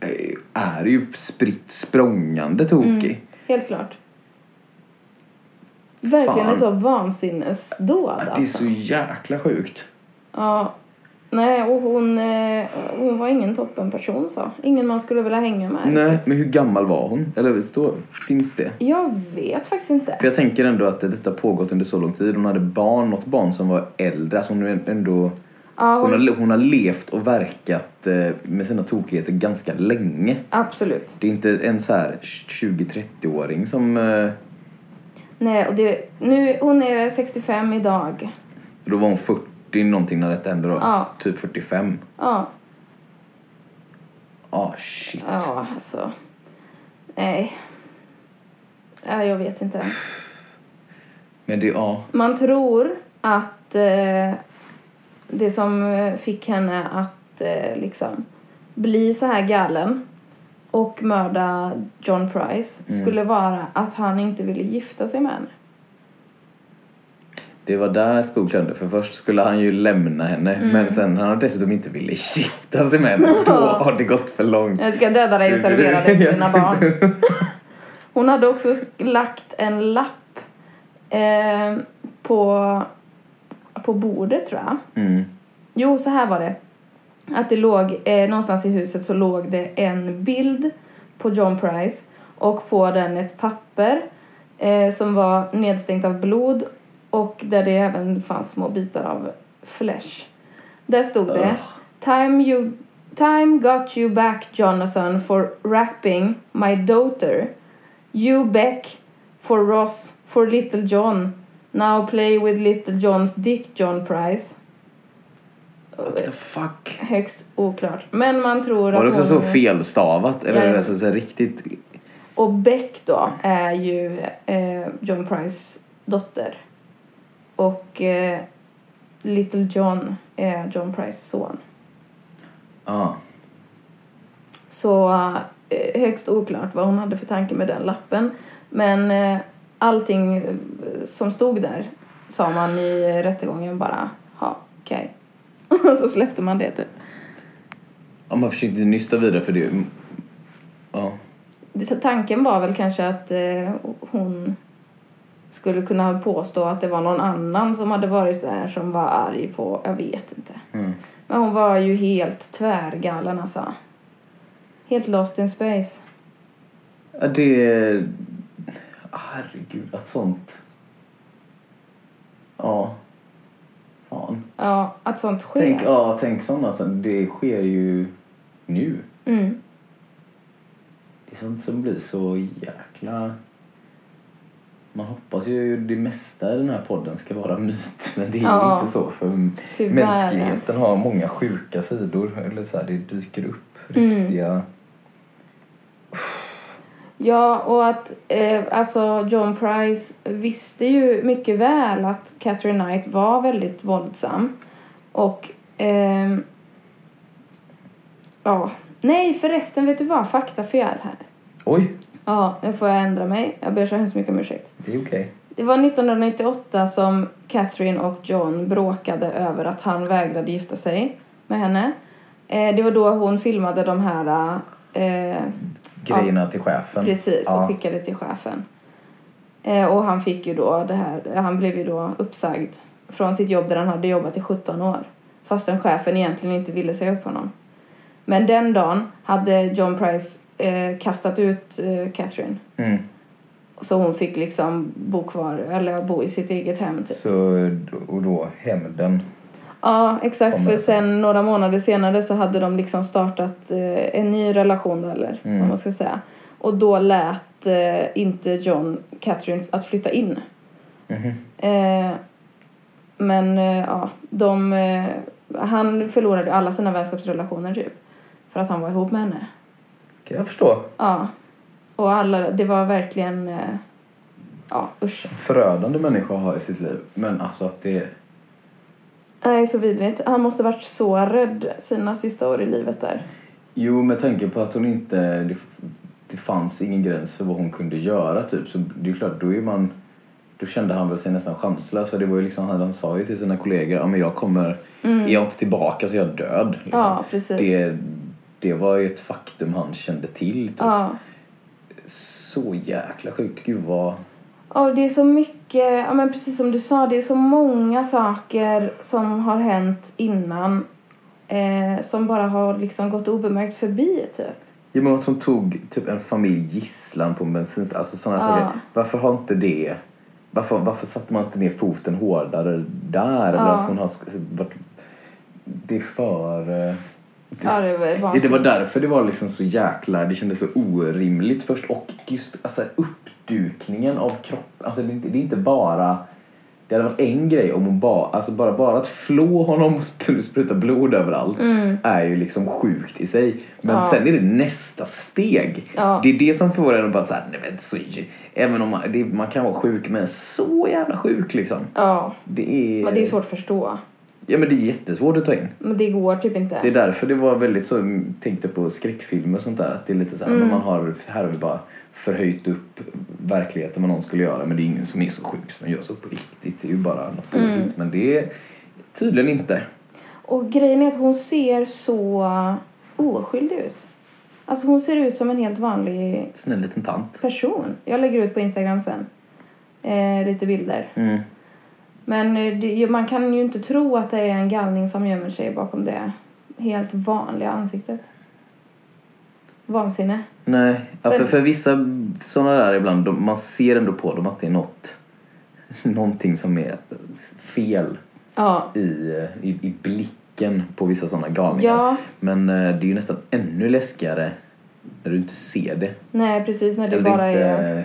S2: eh, är ju spritt språngande tokig.
S1: Helt klart. Verkligen
S2: Fan.
S1: är så vansinnesdåd
S2: Ja, Det är
S1: alltså.
S2: så jäkla sjukt.
S1: Ja. Nej, och hon, eh, hon var ingen toppenperson så. Ingen man skulle vilja hänga med.
S2: Nej,
S1: riktigt.
S2: men hur gammal var hon? Eller står, finns det?
S1: Jag vet faktiskt inte.
S2: För jag tänker ändå att detta pågått under så lång tid. Hon hade barn, något barn som var äldre. Alltså hon, är ändå,
S1: Ja,
S2: hon,
S1: hon,
S2: har, hon har levt och verkat eh, med sina tokigheter ganska länge.
S1: absolut.
S2: Det är inte en så här 20-30-åring som... eh,
S1: Nej, och det, nu, hon är 65 idag.
S2: Då var hon 40 någonting när detta hände då.
S1: Ja.
S2: Typ 45.
S1: Ja,
S2: Ah shit.
S1: ja alltså. Nej. Nej, jag vet inte ens.
S2: Men det, ja.
S1: Man tror att eh, det som eh, fick henne att eh, liksom bli så här galen och mörda John Price skulle vara att han inte ville gifta sig med henne.
S2: Det var där skon klämde. För först skulle han ju lämna henne.
S1: Mm.
S2: Men sen han har dessutom inte ville gifta sig med henne. Då har det gått för långt.
S1: Jag ska döda dig och servera dig till dina barn. Hon hade också lagt en lapp eh, på, på bordet tror jag.
S2: Mm.
S1: Jo, så här var det. Att det låg, eh, någonstans i huset så låg det en bild på John Price och på den ett papper eh, som var nedstängt av blod och där det även fanns små bitar av flesh. Där stod det Time, you, time got you back Jonathan for rapping my daughter. You back for Ross for little John. Now play with little Johns dick John Price.
S2: What the fuck?
S1: Högst oklart. Men man tror
S2: Var
S1: att
S2: det också så
S1: hon...
S2: felstavat? Eller
S1: Ja, ja.
S2: alltså, så här, riktigt...
S1: Och Beck då är ju eh, John Price dotter. Och eh, Little John är John Prices son.
S2: Ja.
S1: Så eh, högst oklart vad hon hade för tanke med den lappen. Men eh, allting eh, som stod där sa man i rättegången bara, ja okej. Och så släppte man det typ.
S2: Om man försökte nysta vidare för det... Ja.
S1: Det- Tanken var väl kanske att eh, hon skulle kunna påstå att det var någon annan som hade varit där som var arg på, jag vet inte. Men hon var ju helt tvärgalen alltså. Helt lost in space.
S2: Ja, Det... Herregud, att sånt... Ja. Fan.
S1: Ja, att sånt sker.
S2: Tänk, ja, tänk sådana. Alltså, det sker ju nu.
S1: Mm.
S2: Det är sånt som blir Liksom, så jäkla... Man hoppas ju det mesta i den här podden ska vara myt, men det är
S1: Ja.
S2: inte så. För
S1: Tyvärr.
S2: mänskligheten har många sjuka sidor. Eller så här, det dyker upp
S1: Mm.
S2: riktiga...
S1: Ja, och att eh, alltså John Price visste ju mycket väl att Catherine Knight var väldigt våldsam. Och... ehm, ja. Nej, förresten, vet du vad? Faktafel här.
S2: Oj,
S1: Ja, nu får jag ändra mig. Jag ber så hemskt mycket om ursäkt.
S2: det är okej.
S1: Det var 1998 som Catherine och John bråkade över att han vägrade gifta sig med henne. Eh, det var då hon filmade de här... Eh,
S2: Grejerna till chefen.
S1: Precis, och
S2: ja.
S1: skickade till chefen. Eh, och han fick ju då det här, han blev ju då uppsagd från sitt jobb där han hade jobbat i 17 år. Fastän chefen egentligen inte ville säga upp honom. Men den dagen hade John Price eh, kastat ut eh, Catherine.
S2: Mm.
S1: Så hon fick liksom bo kvar, eller bo i sitt eget hem typ.
S2: Så, och då hämnden.
S1: Ja, exakt.
S2: Kommer
S1: För
S2: det.
S1: sen några månader senare så hade de liksom startat eh, en ny relation då, eller
S2: Mm.
S1: vad man ska säga. Och då lät eh, inte John Catherine att flytta in.
S2: Mhm.
S1: Eh, men eh, ja, de, eh, han förlorade alla sina vänskapsrelationer typ. För att han var ihop med henne.
S2: Kan jag förstå.
S1: Ja. Och alla, det var verkligen, eh, ja usch.
S2: Förödande människa att ha i sitt liv. Men alltså att det...
S1: Nej, så vidrigt. Han måste varit så rädd sina sista år i livet där.
S2: Jo, med tanke på att hon inte... Det, det fanns ingen gräns för vad hon kunde göra typ. Så det är klart, då är man... Då kände han väl sig nästan chanslös. För det var ju liksom, han, han sa ju till sina kollegor, ja men jag kommer... Är jag inte tillbaka så är jag död. Liksom.
S1: Ja, Mm. precis.
S2: Det, det var ju ett faktum han kände till. Typ.
S1: Ja.
S2: Så jäkla sjukt. Gud vad...
S1: Ja, det är så mycket, ja men precis som du sa, det är så många saker som har hänt innan eh, som bara har liksom gått obemärkt förbi typ.
S2: Ja, men att hon tog typ en familj gisslan på en bensinst- Alltså sådana saker. Varför har inte det... Varför, varför satte man inte ner foten hårdare där? Eller att hon har sk- varit... Det är för... eh, Det,
S1: Ja, det var
S2: Ja, det
S1: vansinnigt.
S2: var därför det var liksom så jäkla... Det kändes så orimligt först. Och just alltså, uppdukningen av kroppen. Alltså det, är inte- det är inte bara... Det hade varit en grej om hon bara... Alltså bara, bara att flå honom och spr- spruta blod överallt
S1: Mm.
S2: är ju liksom sjukt i sig. Men sen är det nästa steg.
S1: Ja.
S2: Det är det som får en att bara såhär, nej men så... Även om man, det, man kan vara sjuk, men så jävla sjuk liksom.
S1: Ja,
S2: Det är...
S1: men det är svårt att förstå.
S2: Ja men det är jättesvårt att ta in.
S1: Men det går typ inte.
S2: Det är därför det var väldigt så, mm, tänkte på skräckfilmer och sånt där, att det är lite så här,
S1: Mm.
S2: men man har, här har vi bara förhöjt upp verkligheten vad någon skulle göra, men det är ingen som är så sjuk som gör så på riktigt, det är ju bara något mm. men det är tydligen inte.
S1: Och grejen är att hon ser så oskyldig ut. Alltså hon ser ut som en helt vanlig
S2: Snäll liten tant.
S1: person. Jag lägger ut på Instagram sen eh, lite bilder.
S2: Mm.
S1: Men eh, det, man kan ju inte tro att det är en galning som gömmer sig bakom det helt vanliga ansiktet. Vansinne.
S2: Nej, ja,
S1: Sen-
S2: för, för vissa sådana där ibland, de, man ser ändå på dem att det är något, någonting som är fel
S1: Ja.
S2: i, i, i blicken på vissa sådana galningar.
S1: Ja.
S2: Men eh, det är ju nästan ännu läskigare när du inte ser det.
S1: Nej, precis när det
S2: Eller
S1: bara
S2: inte,
S1: är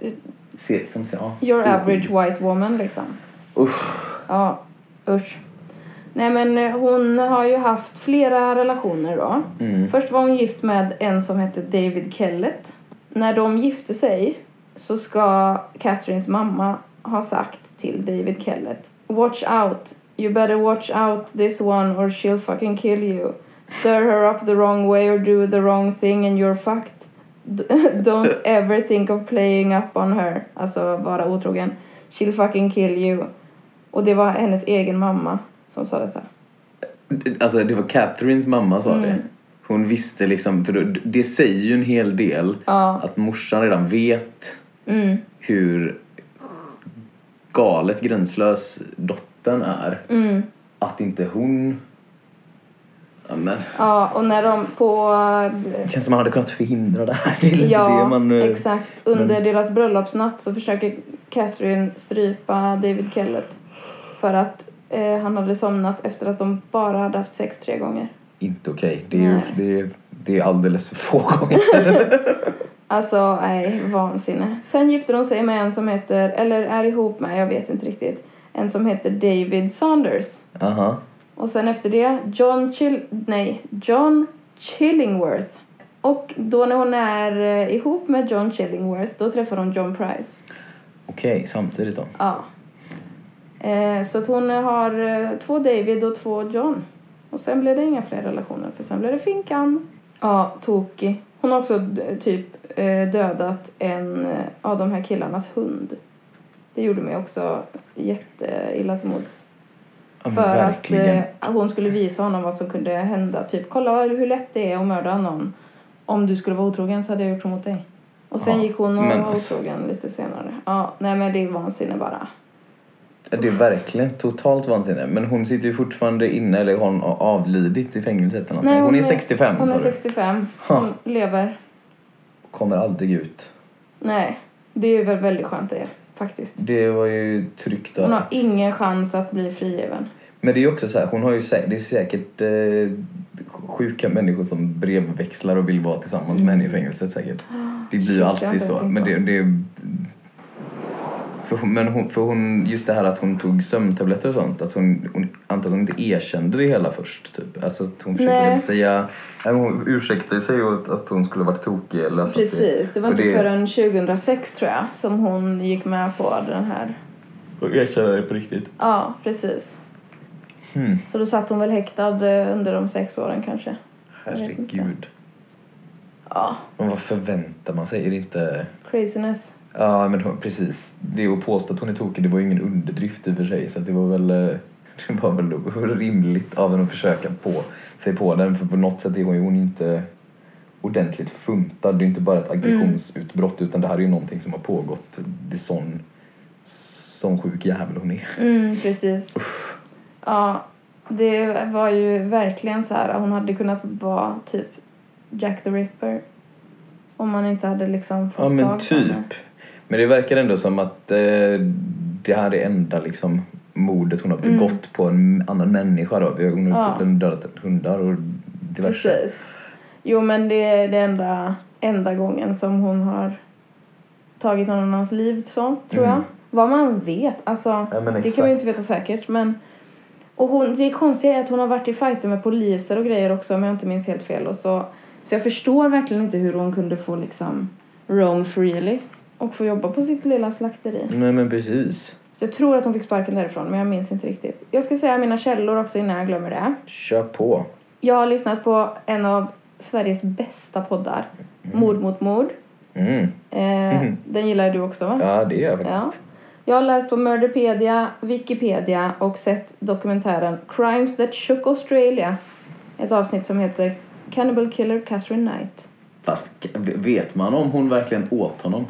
S2: eh, Se, som, se- ja,
S1: your
S2: stor
S1: average
S2: skillnad.
S1: white woman liksom.
S2: Mm. Usch.
S1: Ja, usch. Nej men eh, hon har ju haft flera relationer då. Först var hon gift med en som hette David Kellett. När de gifte sig så ska Catherines mamma ha sagt till David Kellett Watch out, you better watch out this one or she'll fucking kill you. Stir her up the wrong way or do the wrong thing and you're fucked. D- Don't ever think of playing up on her. Alltså vara otrogen. She'll fucking kill you. Och det var hennes egen mamma som sa detta.
S2: Alltså det var Catherines mamma sa
S1: Mm.
S2: det. Hon visste liksom, för då- det säger ju en hel del att morsan redan vet
S1: Mm.
S2: hur galet gränslös dottern är.
S1: Mm.
S2: Att inte hon... Ja, men,
S1: Ja, och när de på...
S2: det känns som man hade kunnat förhindra det här. Det är lite
S1: ja,
S2: det man... eh,
S1: exakt. Under deras bröllopsnatt så försöker Catherine strypa David Kellett för att eh, han hade somnat efter att de bara hade haft sex tre gånger.
S2: Inte okej. Det, är ju- det, är- det är alldeles för få gånger.
S1: Alltså, nej, vansinne. Sen gifter hon sig med en som heter, eller är ihop med, jag vet inte riktigt, en som heter David Saunders.
S2: Aha.
S1: Och sen efter det John Chill... Nej, John Chillingworth. Och då när hon är eh, ihop med John Chillingworth då träffar hon John Price.
S2: Okej, samtidigt då.
S1: Ja. Eh, så att hon har eh, två David och två John. Och sen blev det inga fler relationer för sen blev det Finkan. Ja, tokig. Hon har också d- typ eh, dödat en eh, av de här killarnas hund. Det gjorde mig också jätteilla till mods.
S2: Ja, men
S1: För att
S2: verkligen.
S1: eh, hon skulle visa honom vad som kunde hända. Typ, kolla hur lätt det är att mörda någon. Om du skulle vara otrogen så hade jag gjort så mot dig. Och sen
S2: Ja,
S1: gick hon och
S2: men
S1: var
S2: alltså-
S1: otrogen lite senare. Ja, nej men det är vansinne bara.
S2: Det är verkligen totalt vansinne. Men hon sitter ju fortfarande inne, eller hon har avlidit i fängelset eller någonting. hon, är 65
S1: Hon
S2: sa
S1: är
S2: du.
S1: 65.
S2: Ha.
S1: Hon lever.
S2: Kommer aldrig ut.
S1: Nej, det är väl väldigt skönt det faktiskt.
S2: Det var ju tryggt
S1: Hon
S2: att
S1: har ingen chans att bli frigiven.
S2: Men det är ju också så här, hon har ju sä- det är säkert eh, sjuka människor som brevväxlar och vill vara tillsammans med henne i fängelset säkert. Det blir
S1: Mm. Ah, Shit, jag har inte
S2: ju alltid
S1: ens
S2: så.
S1: tänkt
S2: Men
S1: på
S2: det, det för, hon- men hon, för hon, just det här att hon tog sömntabletter och sånt, att hon, hon antagligen inte erkände det hela först. Typ. Alltså att hon försökte
S1: Nej.
S2: väl säga, nej, men hon ursäktade sig åt att hon skulle varit tokig eller alltså att
S1: Precis, det var
S2: och
S1: inte förrän 2006 tror jag som hon gick med på den här
S2: Och erkänna det på riktigt.
S1: Ja, precis.
S2: Hmm.
S1: Så då satt hon väl häktad eh, under de sex åren kanske. vet inte.
S2: Herregud.
S1: Ja,
S2: Men vad förväntar man sig? Är det inte...
S1: craziness.
S2: Ja, men hon, precis. Det att påstå att hon är tokig, det var ju ingen underdrift i och för sig. Så att det var väl... eh, Det var väl då rimligt av henne att försöka på sig på den för på något sätt är hon ju hon är inte ordentligt funtad. Det är inte bara ett aggressionsutbrott utan det här är ju någonting som har pågått. Det är sån, sån sjuk jävel hon är.
S1: Mm, precis. Ja, det var ju verkligen så här. Hon hade kunnat vara typ Jack the Ripper. Om man inte hade liksom fått
S2: Ja men
S1: tag på henne.
S2: typ. Men det verkar ändå som att eh, det här är enda liksom mordet hon har begått på en annan människa då. Vi har- Hon
S1: Mm. Ja.
S2: har ja. dödat hundar och diverse.
S1: Precis. Jo, men det är den enda, enda gången som hon har tagit någon annans liv så, tror jag. Vad man vet, alltså.
S2: Mm. Ja, men
S1: det
S2: exakt.
S1: kan man ju inte veta säkert, men... Och hon, det konstiga är att hon har varit i fighter med poliser och grejer också om jag inte minns helt fel. Och så, så jag förstår verkligen inte hur hon kunde få liksom roam freely och få jobba på sitt lilla slakteri.
S2: Nej men precis.
S1: Så jag tror att hon fick sparken därifrån men jag minns inte riktigt. Jag ska säga mina källor också innan jag glömmer det.
S2: Kör på.
S1: Jag har lyssnat på en av Sveriges bästa poddar, Mord mot mord.
S2: Mm.
S1: Eh, Den gillar du också va?
S2: Ja det gör jag
S1: Ja.
S2: faktiskt.
S1: Jag har läst på Murderpedia, Wikipedia och sett dokumentären Crimes that shook Australia. Ett avsnitt som heter Cannibal Killer Catherine Knight.
S2: Fast vet man om hon verkligen åt honom?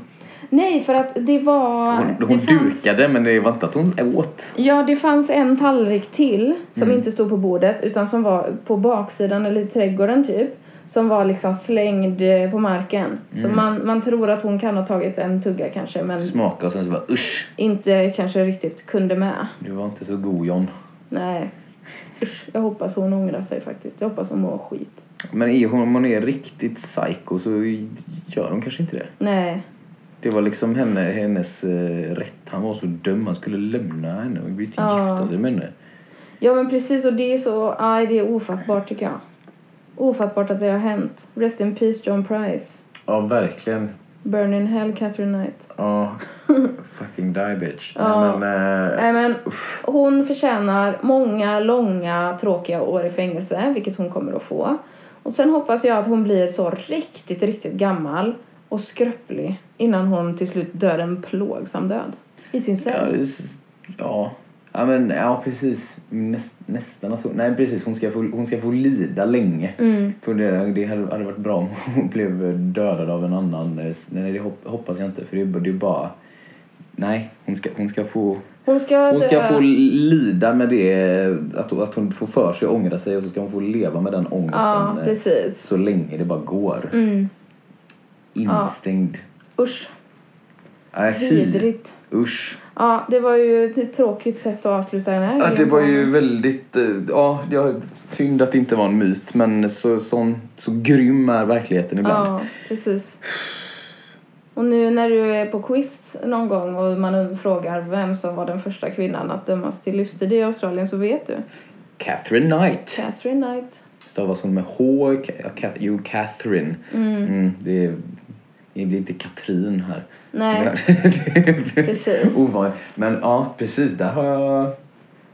S1: Nej, för att det var...
S2: Hon,
S1: det
S2: hon dukade men det var inte att hon åt.
S1: Ja, det fanns en tallrik till som inte stod på bordet utan som var på baksidan eller i trädgården typ. Som var liksom slängd eh, på marken. Så man, man tror att hon kan ha tagit en tugga kanske men
S2: Smaka och sen så bara usch.
S1: inte kanske riktigt kunde med.
S2: Du var inte så god John.
S1: Nej. Usch, jag hoppas hon ångrar sig faktiskt. Jag hoppas hon mår skit.
S2: Men är hon, om hon är riktigt psycho så gör hon kanske inte det.
S1: Nej.
S2: Det var liksom henne, hennes eh, rätt. Han var så dum. Han skulle lämna henne och byta
S1: Ja.
S2: gifta sig med henne.
S1: Ja men precis och det är så, aj det är ofattbart tycker jag. Ofattbart att det har hänt. Rest in peace John Price.
S2: Ja, verkligen.
S1: Burn in hell Catherine Knight.
S2: Ja. Fucking die bitch. Nej, men, eh,
S1: Nej, men hon förtjänar många långa tråkiga år i fängelse, vilket hon kommer att få. Och sen hoppas jag att hon blir så riktigt, riktigt gammal och skröplig innan hon till slut dör en plågsam död i sin
S2: Ja,
S1: cell.
S2: det är s- ja. Ja, men, ja precis. Näst, nästan att hon... Nej, precis. Hon ska få, hon ska få lida länge.
S1: Mm.
S2: För det, det hade hade varit bra om hon blev dödad av en annan. eh, s- Nej, det hop- hoppas jag inte. För det, är- det är bara... Nej, hon ska, hon ska få...
S1: Hon ska,
S2: Hon ska
S1: dö-
S2: få lida med det, att, att hon får för sig att ångra sig och så ska hon få leva med den ångesten
S1: Ja,
S2: eh,
S1: precis. Mm.
S2: så länge det bara går. Instängd.
S1: Usch,
S2: Nej, fy.
S1: vidrigt.
S2: Usch.
S1: Ja, det var ju ett tråkigt sätt att avsluta den här
S2: Ja, det
S1: grejen
S2: var
S1: på.
S2: ju väldigt... eh, Ja, jag, synd att det inte var en myt, men så, sån, så grym är verkligheten ibland.
S1: Ja, precis. Och nu när du är på quiz någon gång och man frågar vem som var den första kvinnan att dömas till livstid i Australien så vet du.
S2: Catherine Knight.
S1: Catherine Knight.
S2: Stavas hon med H? Ka- ja, Kath- Jo, Catherine. Mm, det, är, det blir inte Katrin här.
S1: Nej, precis.
S2: Ovanligt. Men ja, precis. Där har jag...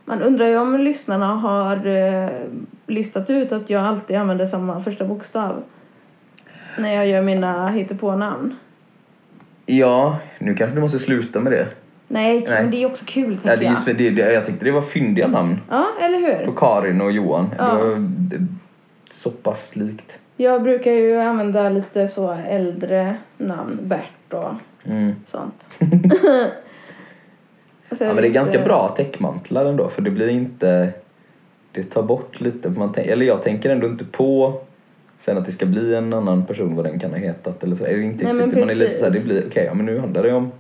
S1: Man undrar ju om lyssnarna har eh, listat ut att jag alltid använder samma första bokstav när jag gör mina hittepånamn.
S2: Ja, nu kanske du måste sluta med det.
S1: Nej,
S2: Nej.
S1: men det är också kul, tänker
S2: Ja, det,
S1: jag.
S2: är- det, det, jag tyckte det var fyndiga namn.
S1: Ja, eller
S2: På
S1: hur?
S2: Karin och Johan.
S1: Ja.
S2: Det var det- så pass likt.
S1: Jag brukar ju använda lite så äldre namn, Bert och
S2: Mm.
S1: sånt.
S2: Ja, men det är ganska bra täckmantlar ändå, för det blir inte... Det tar bort lite. Man tän- eller jag tänker ändå inte på sen att det ska bli en annan person vad den kan ha hetat. Eller så. Är det inte
S1: Nej, men
S2: riktigt, man är lite så här, det
S1: precis.
S2: blir, okej, ja, men nu handlar det om,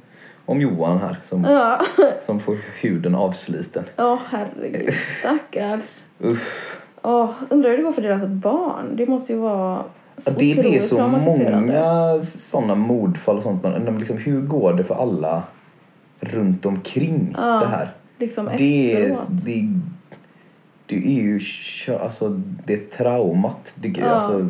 S2: om Johan här som,
S1: Ja,
S2: som får huden avsliten.
S1: Åh, herregud. Stackars.
S2: Usch.
S1: Åh, undrar hur det går för deras barn. Det måste ju vara så
S2: Ja, det, det är
S1: otroligt
S2: så
S1: traumatiserande.
S2: många sådana mordfall och sånt. Man undrar liksom, hur går det för alla runt omkring det här?
S1: Liksom
S2: det, är-
S1: efteråt.
S2: det, det är ju kö- alltså, det är traumat. Det, alltså,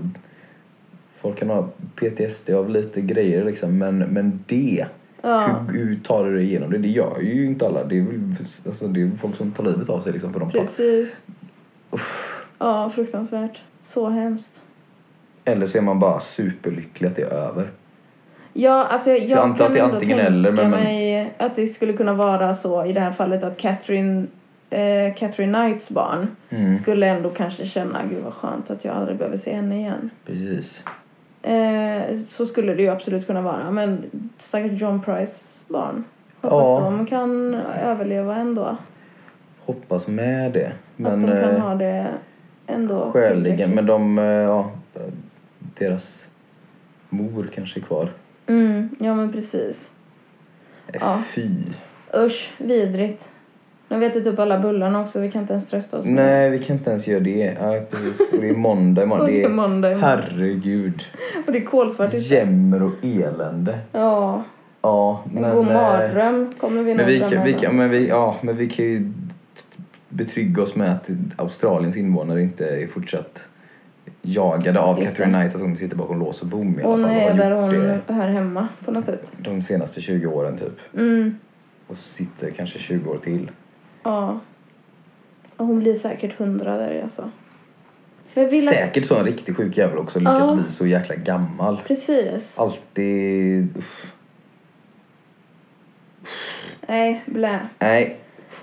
S2: folk kan ha PTSD av lite grejer liksom, men, men det. Hur, hur tar du dig igenom det? Det gör ju inte alla. Det är, väl- alltså, det är folk som tar livet av sig liksom, för de tar,
S1: Precis. Ja, fruktansvärt. Så hemskt.
S2: Eller så är man bara superlycklig att det är över.
S1: Ja, alltså jag,
S2: Jag antar
S1: kan
S2: att det är
S1: ändå
S2: antingen
S1: tänka
S2: eller, men- men-
S1: mig att det skulle kunna vara så i det här fallet att Catherine eh, Catherine Knights barn
S2: Mm.
S1: skulle ändå kanske känna gud vad skönt att jag aldrig behöver se henne igen.
S2: Precis.
S1: Eh, så skulle det ju absolut kunna vara. Men stackars John Price barn. Hoppas
S2: Ja.
S1: de kan överleva ändå.
S2: Hoppas med det. Men,
S1: att de kan
S2: eh,
S1: ha det ändå.
S2: Skäligen,
S1: tillräckligt.
S2: men de, eh, ja, deras mor kanske är kvar.
S1: Mm, ja men precis.
S2: Eh,
S1: Ja.
S2: Fy.
S1: Usch, vidrigt. Nu vet jag upp alla bullarna också, vi kan inte ens trösta oss. med det.
S2: Nej, vi kan inte ens göra det. Ja, precis. Och det är måndag imorgon.
S1: Och
S2: Det
S1: det är
S2: är,
S1: måndag imorgon.
S2: herregud.
S1: Och det är kolsvart ute.
S2: Jämmer och elände.
S1: Ja,
S2: Ja,
S1: en
S2: men...
S1: god
S2: eh,
S1: mardröm kommer vi
S2: Men vi,
S1: nog
S2: kan, vi
S1: drömma
S2: kan,
S1: om.
S2: men vi, ja, men vi kan ju betrygga oss med att Australiens invånare inte är fortsatt jagade av
S1: Just
S2: Catherine
S1: det.
S2: Knight, att hon sitter bakom lås och bom i alla
S1: Hon
S2: fall. och har
S1: är
S2: gjort
S1: där hon
S2: det
S1: hör hemma på något sätt.
S2: de senaste 20 åren typ.
S1: Mm,
S2: Och sitter kanske 20 år till.
S1: ja. Och hon blir säkert hundra där alltså. Men jag vill att...
S2: Säkert så en riktig sjuk jävel också lyckas
S1: Ja.
S2: bli så jäkla gammal.
S1: Precis.
S2: Alltid... uff.
S1: Nej, blä.
S2: Nej. F-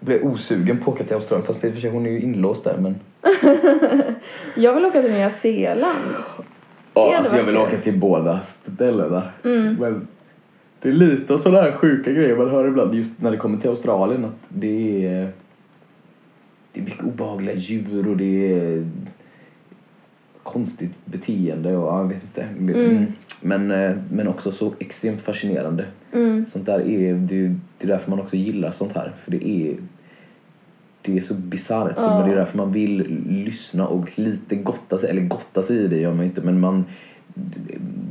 S2: Blev osugen på att åka till Australien. Fast i och för sig, hon är ju inlåst där men...
S1: Jag vill åka till Nya Zeeland.
S2: Ja,
S1: hade
S2: alltså jag
S1: varit
S2: vill
S1: kul.
S2: åka till båda ställena. Men det är lite av sådana här sjuka grejer man hör ibland just när det kommer till Australien. Att det är... Det är mycket obehagliga djur och det är konstigt beteende och jag vet inte.
S1: Mm.
S2: Men, eh, men också så extremt fascinerande.
S1: Mm.
S2: Sånt där är, det, är- det är därför man också gillar sånt här. För det är, det är så bisarrt. så men Det är därför man vill lyssna och lite gotta sig, eller gotta sig i det gör man ju inte, men man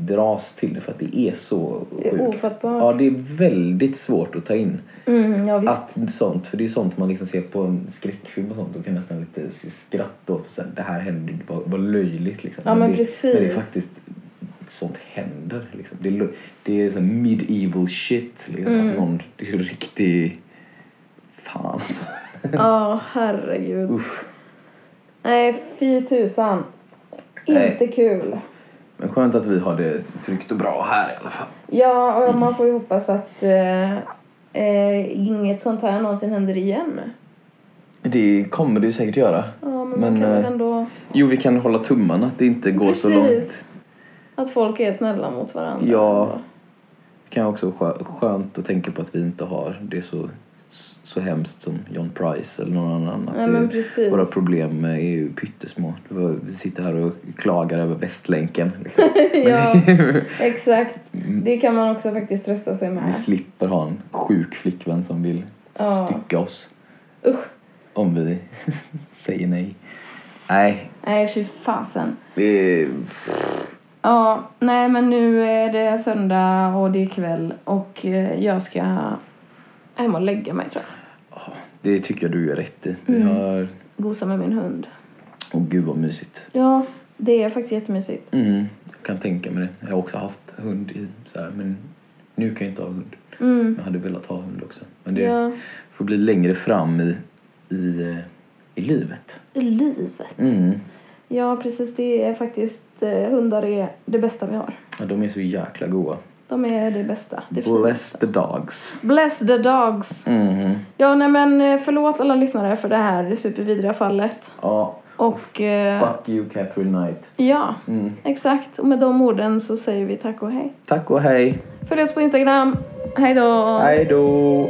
S2: dras till det för att det är så
S1: Det är
S2: sjukt.
S1: ofattbart.
S2: Ja, det är väldigt svårt att ta in
S1: Mm, ja, visst.
S2: att sånt, för det är sånt man liksom ser på en skräckfilm och sånt och kan nästan lite se skratta åt så här, det här händer, ju, vad, vad löjligt liksom.
S1: Ja, men
S2: det,
S1: precis.
S2: Men det är faktiskt, sånt händer liksom. Det är, lo- det är så här medieval shit liksom.
S1: Mm.
S2: Att någon, det är riktig, fan alltså.
S1: Ja, herregud.
S2: Usch.
S1: Nej, fy tusan.
S2: Nej.
S1: Inte kul.
S2: Men skönt att vi har det tryggt och bra här i alla fall.
S1: Ja, och man får ju hoppas att eh, eh, inget sånt här någonsin händer igen.
S2: Det kommer det ju säkert göra.
S1: Ja, men, man kan väl
S2: eh,
S1: ändå...
S2: Jo, vi kan hålla tummarna att det inte går så långt.
S1: Precis. Att folk är snälla mot varandra.
S2: Ja. Det kan också vara skö- skönt att tänka på att vi inte har det så, så hemskt som John Price eller någon annan. Att
S1: Nej,
S2: det-
S1: men precis.
S2: våra problem är ju pyttesmå. Det var- Vi sitter här och klagar över Västlänken.
S1: ja, exakt.
S2: Mm.
S1: Det kan man också faktiskt trösta sig
S2: Vi
S1: med.
S2: slipper ha en sjuk flickvän som vill
S1: Ja.
S2: stycka oss
S1: Usch.
S2: om vi säger nej. Nej,
S1: Nej, fy fasen.
S2: det är...
S1: Ja, nej men nu är det söndag och det är kväll och eh, jag ska hem och lägga mig tror jag.
S2: Det tycker jag du gör rätt i. Vi
S1: Mm.
S2: har...
S1: Gosa med min hund.
S2: Åh gud vad mysigt.
S1: Ja, det är faktiskt jättemysigt.
S2: Mm, jag kan tänka mig det. Jag har också haft hund i så här, men nu kan jag inte ha hund. Jag hade velat ha hund också. Men det
S1: Mm. Ja.
S2: får bli längre fram i, i, eh, i livet.
S1: I livet.
S2: Mm.
S1: Ja, precis. Det är faktiskt... Eh, hundar är det bästa vi har.
S2: Ja, de är så jäkla goa.
S1: De är det bästa. Det
S2: Bless
S1: finaste.
S2: the dogs.
S1: Bless the dogs.
S2: Mm.
S1: Ja, nej men eh, förlåt alla lyssnare för det här supervidriga fallet.
S2: Ja,
S1: Och eh,
S2: fuck you Catherine Knight.
S1: ja,
S2: Mm.
S1: exakt. Och med de orden så säger vi tack och hej.
S2: Tack och hej.
S1: Följ oss på Instagram. Hej då!
S2: Hej då.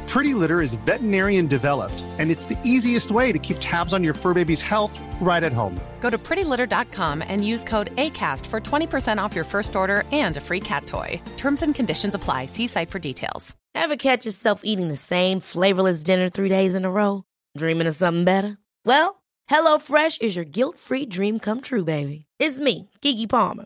S3: Pretty Litter is veterinarian developed, and it's the easiest way to keep tabs on your fur baby's health right at home.
S4: Go to prettylitter.com and use code ACAST for 20% off your first order and a free cat toy. Terms and conditions apply. See site for details.
S5: Ever catch yourself eating the same flavorless dinner three days in a row? Dreaming of something better? Well, HelloFresh is your guilt-free dream come true, baby. It's me, Gigi Palmer.